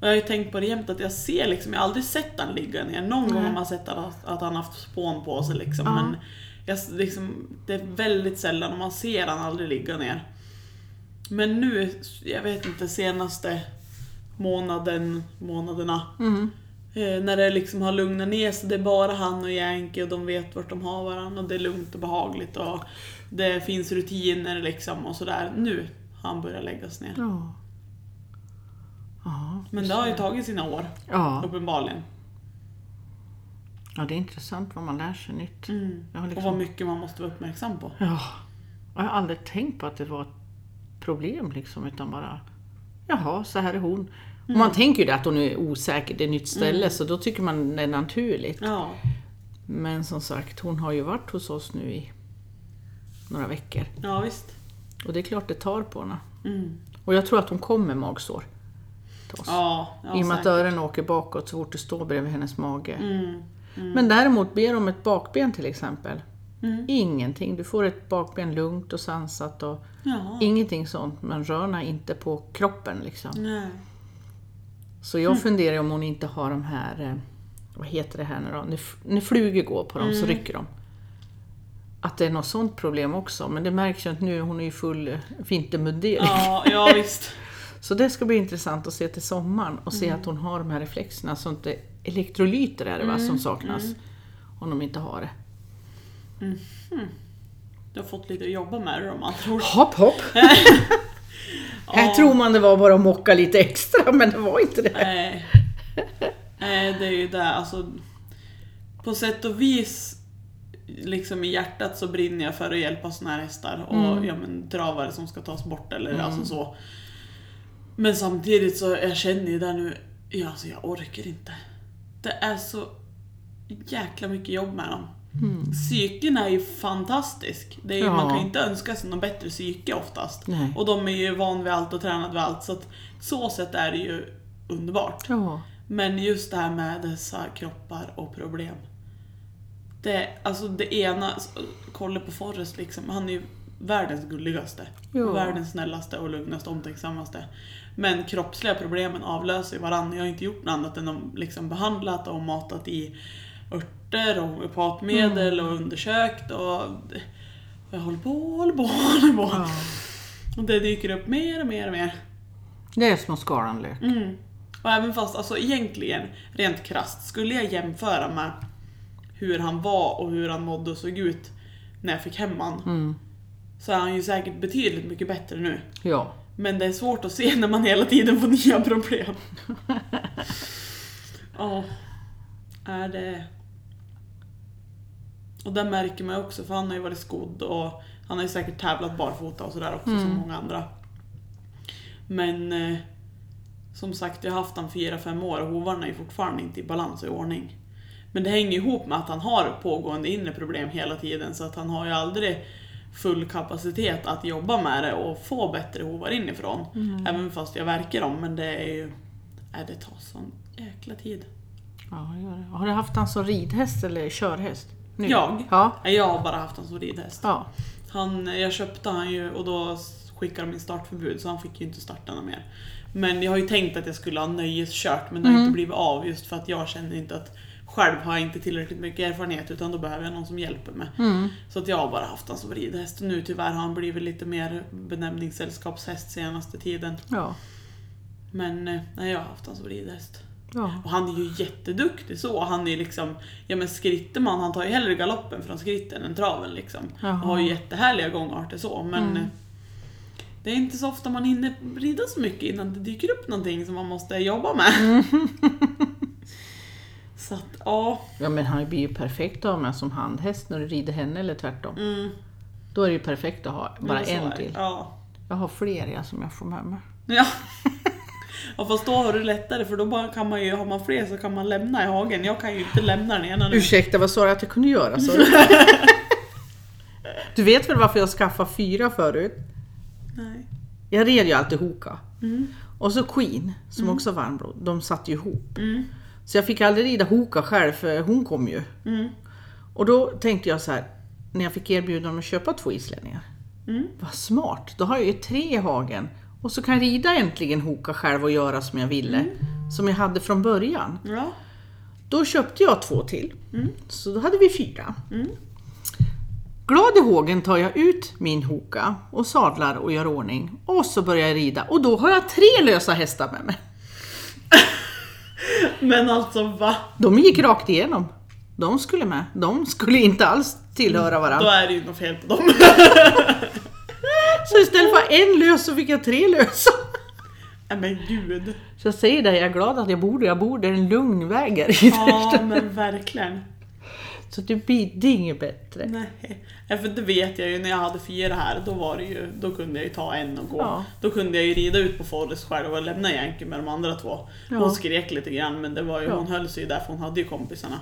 [SPEAKER 2] Och jag har ju tänkt på det jämt att jag ser liksom, jag har aldrig sett han ligga ner. Någon gång har man sett att, att han haft spån på sig liksom.
[SPEAKER 1] Ja.
[SPEAKER 2] Men jag, s- liksom, det är väldigt sällan och man ser han aldrig ligga ner. Men nu, jag vet inte, senaste månaden, månaderna.
[SPEAKER 1] Mm.
[SPEAKER 2] Eh, när det liksom har lugnat ner sig, det är bara han och Yankee och de vet vart de har varandra och det är lugnt och behagligt och det finns rutiner liksom och sådär. Nu har han börjat läggas ner.
[SPEAKER 1] Ja. Ja.
[SPEAKER 2] Men det har ju tagit sina år,
[SPEAKER 1] Ja.
[SPEAKER 2] uppenbarligen.
[SPEAKER 1] ja, det är intressant vad man lär sig nytt.
[SPEAKER 2] Mm.
[SPEAKER 1] Jag har,
[SPEAKER 2] Och
[SPEAKER 1] liksom,
[SPEAKER 2] vad mycket man måste vara uppmärksam på.
[SPEAKER 1] ja, jag har aldrig tänkt på att det var ett problem liksom, utan bara, jaha, så här är hon. Och
[SPEAKER 2] Mm.
[SPEAKER 1] man tänker ju det att hon är osäker, det är ett nytt ställe, så då tycker man det är naturligt.
[SPEAKER 2] Ja.
[SPEAKER 1] Men som sagt, hon har ju varit hos oss nu i några veckor.
[SPEAKER 2] Ja visst.
[SPEAKER 1] Och det är klart det tar på henne.
[SPEAKER 2] Mm.
[SPEAKER 1] Och jag tror att hon kommer med magsår. Till oss.
[SPEAKER 2] Ja, ja
[SPEAKER 1] Alltså, I och med att
[SPEAKER 2] säkert.
[SPEAKER 1] öronen åker bakåt så fort du står bredvid hennes mage.
[SPEAKER 2] Mm.
[SPEAKER 1] Men däremot ber om ett bakben till exempel. Ingenting. Du får ett bakben lugnt och sansat och
[SPEAKER 2] Ja.
[SPEAKER 1] ingenting sånt. Men rörna inte på kroppen liksom.
[SPEAKER 2] Nej.
[SPEAKER 1] Så jag funderar om hon inte har de här, eh, vad heter det här nu då, när, f- när flugor går på dem så rycker de. Att det är något sånt problem också, men det märks ju inte nu, hon är ju full eh, vintermundering.
[SPEAKER 2] Ja, ja visst.
[SPEAKER 1] Så det ska bli intressant att se till sommaren och se att hon har de här reflexerna, så inte elektrolyter är det va, som saknas. Om de inte har det.
[SPEAKER 2] Du har fått lite att jobba med det om andra ord.
[SPEAKER 1] Hopp hopp! Här tror man det var bara att mocka lite extra, men det var inte det.
[SPEAKER 2] Nej. Nej, det är ju det. Alltså, på sätt och vis, liksom i hjärtat så brinner jag för att hjälpa såna här hästar och
[SPEAKER 1] Mm.
[SPEAKER 2] ja, men, travare som ska tas bort eller alltså så. Men samtidigt så, jag känner ju där nu, ja, alltså, jag orkar inte. Det är så jäkla mycket jobb med dem. Psyken är ju fantastisk. Det är ju,
[SPEAKER 1] Mm. Ja.
[SPEAKER 2] Man kan ju inte önska sig någon bättre psyke oftast.
[SPEAKER 1] Nej.
[SPEAKER 2] Och de är ju van vid allt och tränade vid allt. Så att, så sätt är det ju underbart.
[SPEAKER 1] Ja.
[SPEAKER 2] Men just det här med dessa kroppar och problem. Det, alltså det ena, alltså, kolla på Forrest liksom, han är ju världens gulligaste.
[SPEAKER 1] Ja.
[SPEAKER 2] Världens snällaste och lugnaste, omtänksammaste. Men kroppsliga problemen avlöser ju varandra. Jag har inte gjort något annat än att liksom behandlat och matat i örter och homeopatmedel och undersökt och... och Jag håller på, håller på, håller på.
[SPEAKER 1] Ja.
[SPEAKER 2] Och det dyker upp mer och mer och mer.
[SPEAKER 1] Det är små skaranlök.
[SPEAKER 2] Mm. Och även fast, alltså egentligen, rent krasst, skulle jag jämföra med hur han var och hur han mådde och såg ut när jag fick hem han,
[SPEAKER 1] Mm.
[SPEAKER 2] så är han ju säkert betydligt mycket bättre nu.
[SPEAKER 1] Ja.
[SPEAKER 2] Men det är svårt att se när man hela tiden får nya problem. Ja. Är det... Och där märker man ju också, för han har ju varit skodd och han har ju säkert tävlat barfota och sådär också som många andra. Men eh, som sagt, jag har haft han 4-5 år och hovarna är ju fortfarande inte i balans och i ordning. Men det hänger ju ihop med att han har pågående inre problem hela tiden så att han har ju aldrig full kapacitet att jobba med det och få bättre hovar inifrån. Även fast jag verkar dem, men det är ju... Nej, det tar sån jäkla tid.
[SPEAKER 1] Ja, det gör det. Har du haft han som ridhäst eller körhäst? Nu?
[SPEAKER 2] Jag?
[SPEAKER 1] Ja.
[SPEAKER 2] Nej, Jag har bara haft han som ridhäst.
[SPEAKER 1] ja.
[SPEAKER 2] Han, jag köpte han ju och då skickade de in startförbud så han fick ju inte starta något mer. Men jag har ju tänkt att jag skulle ha nöjeskört men det har inte blivit av just för att jag känner inte att själv har jag inte tillräckligt mycket erfarenhet utan då behöver jag någon som hjälper mig.
[SPEAKER 1] Mm.
[SPEAKER 2] Så att jag har bara haft han som ridhäst och nu tyvärr har han blivit lite mer benämningssällskapshäst senaste tiden.
[SPEAKER 1] Ja.
[SPEAKER 2] Men eh, nej, jag har haft han som ridhäst.
[SPEAKER 1] ja.
[SPEAKER 2] Och han är ju jätteduktig så. Han är liksom, ja men skritterman, han tar ju hellre galoppen från skritten än traven liksom.
[SPEAKER 1] Jaha. Mm.
[SPEAKER 2] Och har ju jättehärliga gångarter så, men eh, det är inte så ofta man hinner rida så mycket innan det dyker upp någonting som man måste jobba med.
[SPEAKER 1] Mm.
[SPEAKER 2] så att, ja.
[SPEAKER 1] Ja, men han blir ju perfekt att ha med som handhäst när du rider henne eller tvärtom.
[SPEAKER 2] Mm,
[SPEAKER 1] Då är det ju perfekt att ha bara
[SPEAKER 2] men så är
[SPEAKER 1] en
[SPEAKER 2] det.
[SPEAKER 1] till.
[SPEAKER 2] Ja.
[SPEAKER 1] Jag har fler jag som jag får med mig.
[SPEAKER 2] ja. Ja fast då har du lättare för då bara kan man ju, har man fler så kan man lämna i hagen. Jag kan ju inte lämna den ena nu.
[SPEAKER 1] Ursäkta, vad sa du att jag kunde göra? Sa du? du vet väl varför jag skaffade fyra förut?
[SPEAKER 2] Nej.
[SPEAKER 1] Jag red ju alltid hoka.
[SPEAKER 2] Mm.
[SPEAKER 1] Och så Queen, som också var varmblod, de satt ju ihop.
[SPEAKER 2] Mm.
[SPEAKER 1] Så jag fick aldrig rida hoka själv för hon kom ju.
[SPEAKER 2] Mm.
[SPEAKER 1] Och då tänkte jag så här, när jag fick erbjudande om att köpa två islänningar.
[SPEAKER 2] Mm.
[SPEAKER 1] Vad smart, då har jag ju tre i hagen. Och så kan jag rida äntligen hoka själv och göra som jag ville.
[SPEAKER 2] Mm.
[SPEAKER 1] Som jag hade från början.
[SPEAKER 2] Ja.
[SPEAKER 1] Då köpte jag två till. Så då hade vi fyra. Glad i hågen tar jag ut min hoka och sadlar och gör ordning. Och så börjar jag rida och då har jag tre lösa hästar med mig.
[SPEAKER 2] Men alltså va?
[SPEAKER 1] De gick rakt igenom. De skulle med. De skulle inte alls tillhöra
[SPEAKER 2] Då
[SPEAKER 1] varandra.
[SPEAKER 2] är det ju något fel på dem.
[SPEAKER 1] Så istället för en lös så fick jag tre lösa.
[SPEAKER 2] Nej men gud.
[SPEAKER 1] Så jag säger det, jag är glad att jag bor där jag bor. Det är en lugn väg här i
[SPEAKER 2] Ja
[SPEAKER 1] trakten.
[SPEAKER 2] men verkligen.
[SPEAKER 1] Så det bidde inget bättre.
[SPEAKER 2] Nej. Ja, för det vet jag ju när jag hade fyra här, då, var det ju, då kunde jag ju ta en och gå.
[SPEAKER 1] Ja.
[SPEAKER 2] Då kunde jag ju rida ut på Forrest själv och lämna Yankee med de andra två.
[SPEAKER 1] Ja.
[SPEAKER 2] Hon skrek lite grann men det var ju,
[SPEAKER 1] Ja.
[SPEAKER 2] hon höll sig ju där för hon hade ju kompisarna.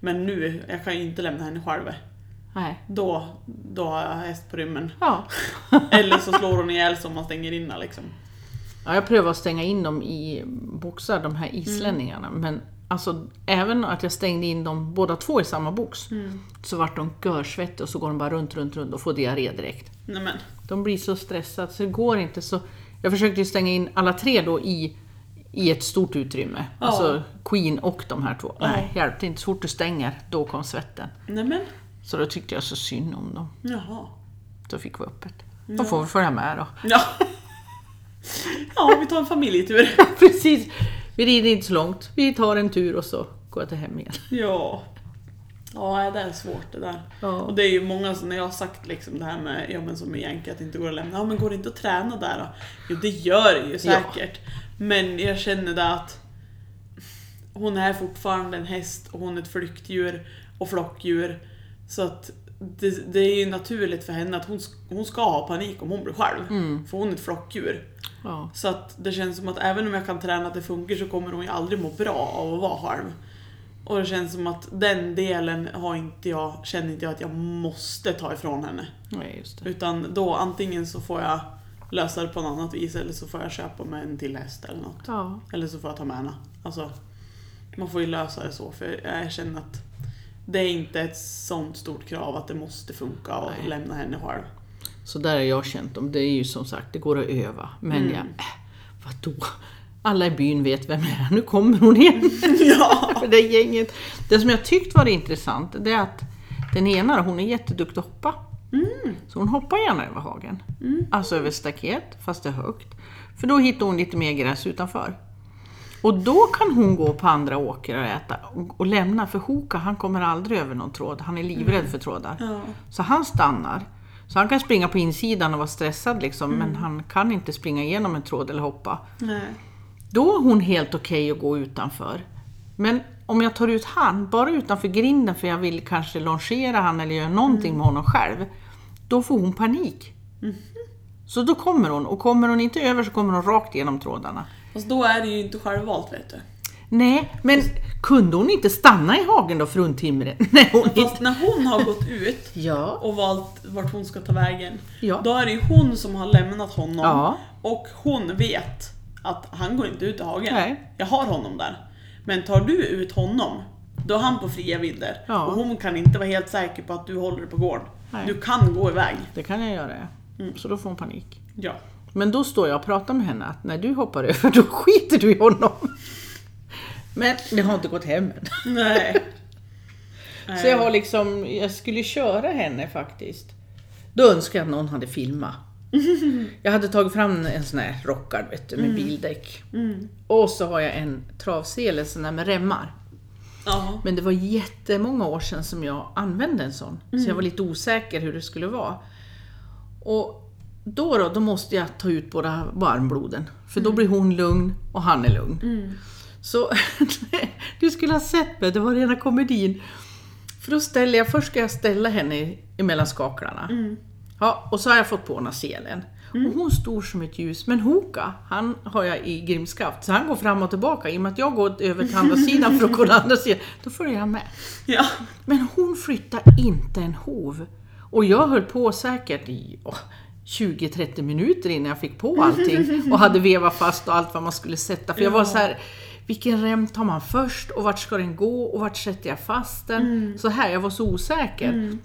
[SPEAKER 2] Men nu, jag kan ju inte lämna henne själv.
[SPEAKER 1] Nej.
[SPEAKER 2] Då, då har jag häst på rymmen.
[SPEAKER 1] Ja.
[SPEAKER 2] Eller så slår hon ihjäl sig om man stänger in henne liksom. Mm.
[SPEAKER 1] Ja, jag prövade att stänga in dem i boxar, de här islänningarna, men Alltså även att jag stängde in dem båda två i samma box
[SPEAKER 2] Mm.
[SPEAKER 1] så vart de görsvettiga och så går de bara runt, runt, runt och får diarré direkt.
[SPEAKER 2] Nej men.
[SPEAKER 1] De blir så stressade så det går inte. Så jag försökte ju stänga in alla tre då i, i ett stort utrymme.
[SPEAKER 2] Ja.
[SPEAKER 1] Alltså Queen och de här två.
[SPEAKER 2] Ja.
[SPEAKER 1] Nej, hjälpte inte. Så fort du stänger, då kom svetten.
[SPEAKER 2] Nej men.
[SPEAKER 1] Så då tyckte jag så synd om dem.
[SPEAKER 2] Jaha.
[SPEAKER 1] Så fick vi öppet.
[SPEAKER 2] Mm.
[SPEAKER 1] De får väl följa med då.
[SPEAKER 2] Ja. ja, vi tar en familjetur.
[SPEAKER 1] Precis! Vi rider inte så långt. Vi tar en tur och så går jag till hem igen.
[SPEAKER 2] Ja. Ja, det är svårt det där.
[SPEAKER 1] Ja.
[SPEAKER 2] Och det är ju många som, när jag har sagt liksom det här med, ja men som i Yankee, att det inte går att lämna. Ja men går det inte att träna där då? Jo det gör det ju säkert. Men jag känner det att hon är fortfarande en häst och hon är ett flyktdjur och flockdjur. Så att det, det är ju naturligt för henne att hon, sk- hon ska ha panik om hon blir själv.
[SPEAKER 1] Mm.
[SPEAKER 2] För hon är ett flockdjur.
[SPEAKER 1] Ja.
[SPEAKER 2] Så att det känns som att även om jag kan träna att det funkar så kommer hon ju aldrig må bra av att vara halv. Och det känns som att den delen har inte jag, känner inte jag att jag måste ta ifrån henne.
[SPEAKER 1] Nej, just det.
[SPEAKER 2] Utan då antingen så får jag lösa det på något annat vis eller så får jag köpa mig en till häst eller något.
[SPEAKER 1] Ja.
[SPEAKER 2] Eller så får jag ta med henne. Alltså, man får ju lösa det så för jag känner att det är inte ett sånt stort krav att det måste funka att
[SPEAKER 1] Nej.
[SPEAKER 2] lämna henne själv.
[SPEAKER 1] Så där har jag känt dem. Det är ju som sagt, det går att öva. Men jag, äh, vadå? Alla i byn vet vem det är. Nu kommer hon igen.
[SPEAKER 2] ja!
[SPEAKER 1] För det gänget. Det som jag tyckt var intressant, det är att den ena, hon är jätteduktig att hoppa. Så hon hoppar gärna över hagen. Alltså över staket, fast det är högt. För då hittar hon lite mer gräs utanför. Och då kan hon gå på andra åkrar och äta och, och lämna, för Hoka han kommer aldrig över någon tråd. Han är livrädd för trådar.
[SPEAKER 2] Ja.
[SPEAKER 1] Så han stannar. Så han kan springa på insidan och vara stressad liksom, men han kan inte springa igenom en tråd eller hoppa.
[SPEAKER 2] Nej.
[SPEAKER 1] Då är hon helt okej att gå utanför. Men om jag tar ut han, bara utanför grinden för jag vill kanske longera han eller göra någonting med honom själv. Då får hon panik. Så då kommer hon och kommer hon inte över så kommer hon rakt genom trådarna.
[SPEAKER 2] Fast då är det ju inte självvalt vet du.
[SPEAKER 1] Nej, men kunde hon inte stanna i hagen då fruntimret? Nej, hon
[SPEAKER 2] Fast
[SPEAKER 1] inte.
[SPEAKER 2] när hon har gått ut
[SPEAKER 1] Ja.
[SPEAKER 2] och valt vart hon ska ta vägen,
[SPEAKER 1] Ja.
[SPEAKER 2] då är det ju hon som har lämnat honom.
[SPEAKER 1] Ja.
[SPEAKER 2] Och hon vet att han går inte ut i hagen.
[SPEAKER 1] Nej.
[SPEAKER 2] Jag har honom där. Men tar du ut honom, då är han på fria vinder.
[SPEAKER 1] Ja.
[SPEAKER 2] Och hon kan inte vara helt säker på att du håller dig på gården.
[SPEAKER 1] Nej.
[SPEAKER 2] Du kan gå iväg.
[SPEAKER 1] Det kan jag göra, ja. Så då får hon panik.
[SPEAKER 2] Ja.
[SPEAKER 1] Men då står jag och pratar med henne att när du hoppar över då skiter du i honom. Men det har inte gått hem än.
[SPEAKER 2] Nej.
[SPEAKER 1] Så jag har liksom, jag skulle köra henne faktiskt. Då önskar jag att någon hade filmat. Jag hade tagit fram en sån här rockad vet du, med bildäck. Och så har jag en travsele, sån där med remmar.
[SPEAKER 2] Ja.
[SPEAKER 1] Men det var jättemånga år sedan som jag använde en sån. Så jag var lite osäker hur det skulle vara. Och då då, då måste jag ta ut båda varmbloden. För då blir hon lugn och han är lugn. Så du skulle ha sett mig, det var rena komedin. För då ställer jag, först ska jag ställa henne i- emellan skaklarna. Ja, och så har jag fått på henne selen. Och hon står som ett ljus, men Hoka, han har jag i grimskaft, så han går fram och tillbaka. I och med att jag går över till andra sidan för att kolla andra sidan, då följer han med.
[SPEAKER 2] Ja.
[SPEAKER 1] Men hon flyttar inte en hov. Och jag höll på säkert i åh, 20-30 minuter innan jag fick på allting och hade vevat fast och allt vad man skulle sätta. För jag var så här, vilken rem tar man först och vart ska den gå och vart sätter jag fast den? Så här, jag var så osäker.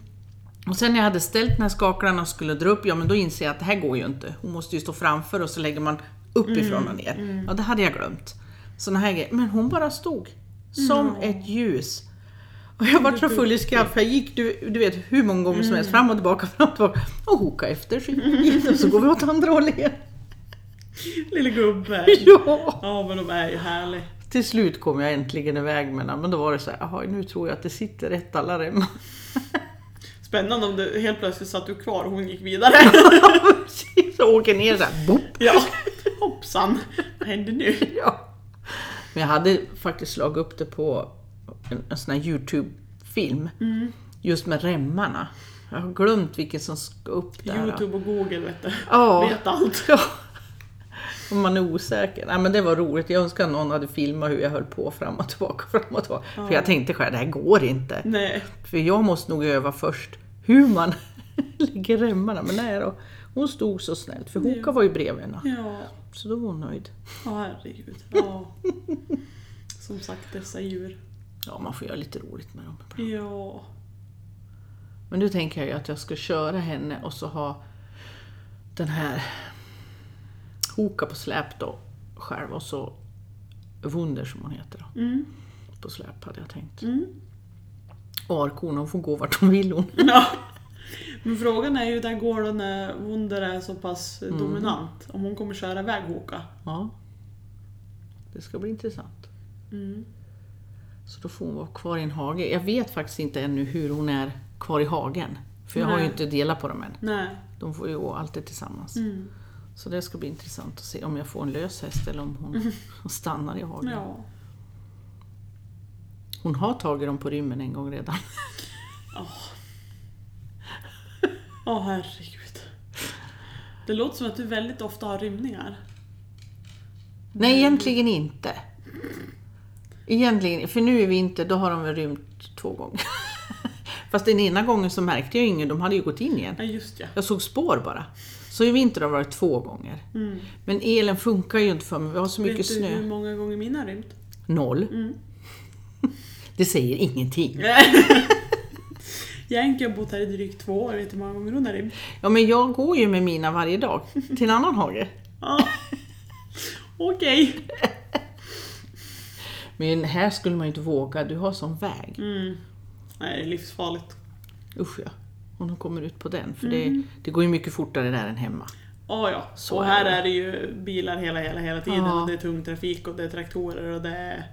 [SPEAKER 1] Och sen när jag hade ställt den här skaklarna och skulle dra upp, ja men då inser jag att det här går ju inte. Hon måste ju stå framför och så lägger man uppifrån och ner. Ja, det hade jag glömt. Såna här grejer. Men hon bara stod. Som ett ljus. Och jag var så full i skratt för jag gick, du, du vet hur många gånger som helst, fram och tillbaka, fram och tillbaka. Och hoka efter, så gick det, och så går vi åt andra hållet igen.
[SPEAKER 2] Lille gubben.
[SPEAKER 1] Ja.
[SPEAKER 2] Ja men de är ju härliga.
[SPEAKER 1] Till slut kom jag äntligen iväg med den, men då var det så här, "Jaha, nu tror jag att det sitter rätt alla remmar.
[SPEAKER 2] Spännande om du helt plötsligt satt du kvar och hon gick vidare.
[SPEAKER 1] så åker ner där, boop.
[SPEAKER 2] Ja, hoppsan. Vad händer nu?
[SPEAKER 1] Ja. Men jag hade faktiskt slagit upp det på en, en sån här YouTube-film.
[SPEAKER 2] Mm.
[SPEAKER 1] Just med remmarna. Jag har glömt vilken som ska upp där.
[SPEAKER 2] Youtube och Google vet du.
[SPEAKER 1] Ja.
[SPEAKER 2] Vet allt.
[SPEAKER 1] Ja. Om man är osäker. Nej, men det var roligt. Jag önskar att någon hade filmat hur jag höll på fram och tillbaka. Fram och tillbaka. För jag tänkte själv, det här går inte.
[SPEAKER 2] Nej.
[SPEAKER 1] För jag måste nog öva först hur man lägger remmarna. Men nej då. Hon stod så snällt, för Hoka var ju bredvid henne.
[SPEAKER 2] Ja,
[SPEAKER 1] Så då var hon nöjd.
[SPEAKER 2] ja herregud. Ja. Som sagt, dessa djur.
[SPEAKER 1] Ja, man får göra lite roligt med dem.
[SPEAKER 2] Ja.
[SPEAKER 1] Men nu tänker jag ju att jag ska köra henne och så ha den här Hoka på släp då själv och så Wunder som hon heter då,
[SPEAKER 2] Mm.
[SPEAKER 1] på släp hade jag tänkt.
[SPEAKER 2] Mm.
[SPEAKER 1] Och Arkon, hon får gå vart hon vill hon.
[SPEAKER 2] Ja. Men frågan är ju hur det går då när Wunder är så pass
[SPEAKER 1] Mm.
[SPEAKER 2] dominant. Om hon kommer köra iväg Hoka.
[SPEAKER 1] Ja. Det ska bli intressant.
[SPEAKER 2] Mm.
[SPEAKER 1] Så då får hon vara kvar i en hage. Jag vet faktiskt inte ännu hur hon är kvar i hagen. För jag har ju
[SPEAKER 2] Nej.
[SPEAKER 1] inte delat på dem än.
[SPEAKER 2] Nej.
[SPEAKER 1] De får ju gå alltid tillsammans.
[SPEAKER 2] Mm.
[SPEAKER 1] Så det ska bli intressant att se om jag får en lös häst eller om
[SPEAKER 2] Mm.
[SPEAKER 1] hon stannar i hagen.
[SPEAKER 2] Ja.
[SPEAKER 1] Hon har tagit dem på rymmen en gång redan.
[SPEAKER 2] Åh herregud. Det låter som att du väldigt ofta har rymningar.
[SPEAKER 1] Nej, egentligen inte. Egentligen, för nu är vi inte, då har de väl rymt två gånger. Fast den ena gången så märkte jag ingen, de hade ju gått in igen.
[SPEAKER 2] Ja just ja.
[SPEAKER 1] Jag såg spår bara. Så i vinter har det varit två gånger.
[SPEAKER 2] Mm.
[SPEAKER 1] Men elen funkar ju inte för mig, vi har så mycket
[SPEAKER 2] Vet du
[SPEAKER 1] snö.
[SPEAKER 2] hur många gånger mina har rymt?
[SPEAKER 1] Noll.
[SPEAKER 2] Mm.
[SPEAKER 1] Det säger ingenting.
[SPEAKER 2] Jänke har bott här i drygt två år, vet du hur många gånger hon har rymt?
[SPEAKER 1] Ja, men jag går ju med mina varje dag till en annan hage.
[SPEAKER 2] Ja. Okej.
[SPEAKER 1] Men här skulle man ju inte våga, du har sån väg.
[SPEAKER 2] Mm. Nej, det är livsfarligt.
[SPEAKER 1] Usch ja. Om de kommer ut på den, för det, det går ju mycket fortare där än hemma.
[SPEAKER 2] Oh, ja.
[SPEAKER 1] Så
[SPEAKER 2] och
[SPEAKER 1] är
[SPEAKER 2] här
[SPEAKER 1] det.
[SPEAKER 2] är det ju bilar hela, hela, hela tiden.
[SPEAKER 1] Ja.
[SPEAKER 2] Och det är tung trafik och det är traktorer och det är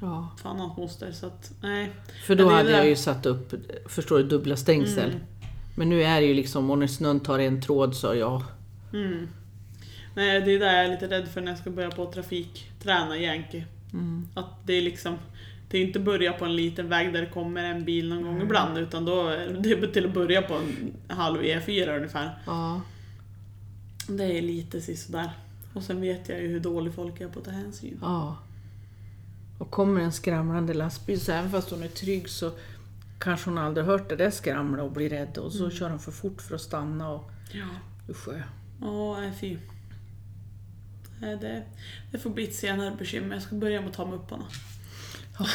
[SPEAKER 1] Ja.
[SPEAKER 2] fan hans moster. Så att, nej.
[SPEAKER 1] För
[SPEAKER 2] Men
[SPEAKER 1] då
[SPEAKER 2] det är
[SPEAKER 1] hade jag
[SPEAKER 2] det.
[SPEAKER 1] ju satt upp, förstår du, dubbla stängsel. Men nu är det ju liksom, och när snön tar en tråd så ja.
[SPEAKER 2] Mm. Nej, det är det jag är lite rädd för när jag ska börja på trafikträna Yankee.
[SPEAKER 1] Mm.
[SPEAKER 2] Att det är liksom, det är inte börja på en liten väg där det kommer en bil någon
[SPEAKER 1] Mm.
[SPEAKER 2] gång ibland. Utan då är det till att börja på en halv E4 ungefär.
[SPEAKER 1] ja.
[SPEAKER 2] Det är lite sisådär. Och sen vet jag ju hur dålig folk är på att ta hänsyn.
[SPEAKER 1] Ja. Och kommer en skramlande lastbil, så även fast hon är trygg så kanske hon aldrig hört det där skramla och blir rädd och så kör hon för fort för att stanna och
[SPEAKER 2] Ja.
[SPEAKER 1] usch ja.
[SPEAKER 2] Ja, nej fy. Nej, det, det får bli ett senare bekymmer. Jag ska börja med att ta mig upp honom.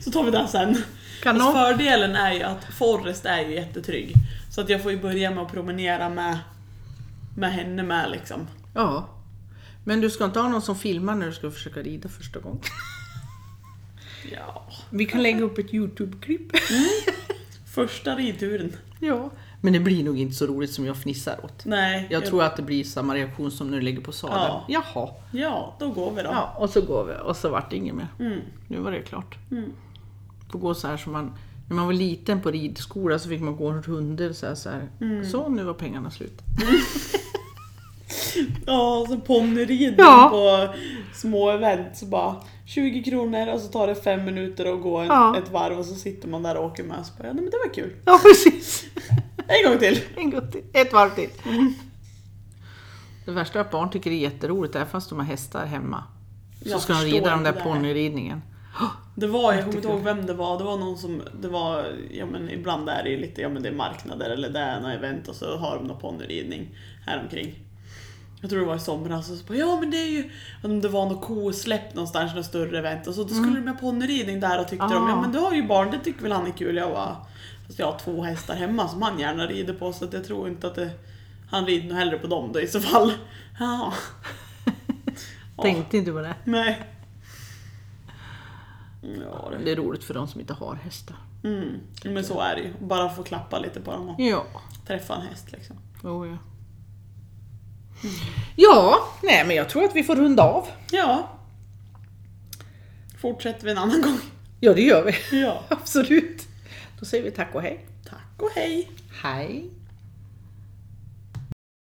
[SPEAKER 2] Så tar vi det här sen.
[SPEAKER 1] Kanon.
[SPEAKER 2] Fast fördelen är ju att Forrest är ju jättetrygg. Så att jag får ju börja med att promenera med, med henne med liksom.
[SPEAKER 1] Ja. Men du ska inte ha någon som filmar när du ska försöka rida första gången?
[SPEAKER 2] Ja.
[SPEAKER 1] Vi kan lägga upp ett Youtube-klipp.
[SPEAKER 2] Första ridturen.
[SPEAKER 1] Ja. Men det blir nog inte så roligt som jag fnissar åt.
[SPEAKER 2] Nej.
[SPEAKER 1] Jag tror att det blir samma reaktion som när du lägger på sadeln.
[SPEAKER 2] Ja.
[SPEAKER 1] Jaha.
[SPEAKER 2] Ja, då går vi då.
[SPEAKER 1] Ja, och så går vi och så vart det inget mer.
[SPEAKER 2] Mm.
[SPEAKER 1] Nu var det klart.
[SPEAKER 2] Mm.
[SPEAKER 1] Får gå så här som man... När man var liten på ridskola så fick man gå runder så här, så här.
[SPEAKER 2] Mm.
[SPEAKER 1] Så, nu var pengarna slut.
[SPEAKER 2] Ja, så ponnyridning
[SPEAKER 1] Ja.
[SPEAKER 2] på små event. Så bara 20 kronor och så tar det fem minuter och går en,
[SPEAKER 1] Ja.
[SPEAKER 2] ett varv och så sitter man där och åker med. Så bara, ja, nej, men det var kul.
[SPEAKER 1] Ja, precis.
[SPEAKER 2] En gång till!
[SPEAKER 1] En gång till. Ett varv till. Det värsta är att barn tycker det är jätteroligt, även fast de har hästar hemma. Så
[SPEAKER 2] Jag
[SPEAKER 1] ska de
[SPEAKER 2] förstår
[SPEAKER 1] rida den
[SPEAKER 2] det
[SPEAKER 1] där
[SPEAKER 2] där.
[SPEAKER 1] ponnyridningen.
[SPEAKER 2] Det var, jag kommer inte ihåg vem det var, det var någon som, det var, ja men ibland är det ju lite, ja men det är marknader eller det är något event och så har de någon ponnyridning häromkring. Jag tror det var i somras och så bara, ja men det är ju, om det var något kosläpp någonstans, något större event och så då skulle de ha ponnyridning där och tyckte de,
[SPEAKER 1] Ah.
[SPEAKER 2] ja men du har ju barn, det tycker väl han är kul. Jag bara, fast jag har två hästar hemma som han gärna rider på så att jag tror inte att det, han rider nog hellre på dem då i så fall. Ja. Ja,
[SPEAKER 1] Tänkte inte på det.
[SPEAKER 2] Nej. Ja, det
[SPEAKER 1] Det är roligt för de som inte har hästar.
[SPEAKER 2] Mm, men så är det ju. Bara få klappa lite på dem och
[SPEAKER 1] Ja.
[SPEAKER 2] träffa en häst liksom.
[SPEAKER 1] Oh, ja. Mm. ja, nej men jag tror att vi får runda av.
[SPEAKER 2] Ja. Fortsätter vi en annan gång.
[SPEAKER 1] Ja, det gör vi.
[SPEAKER 2] Ja.
[SPEAKER 1] Absolut. Då säger vi tack och hej.
[SPEAKER 2] Tack och hej!
[SPEAKER 1] Hej.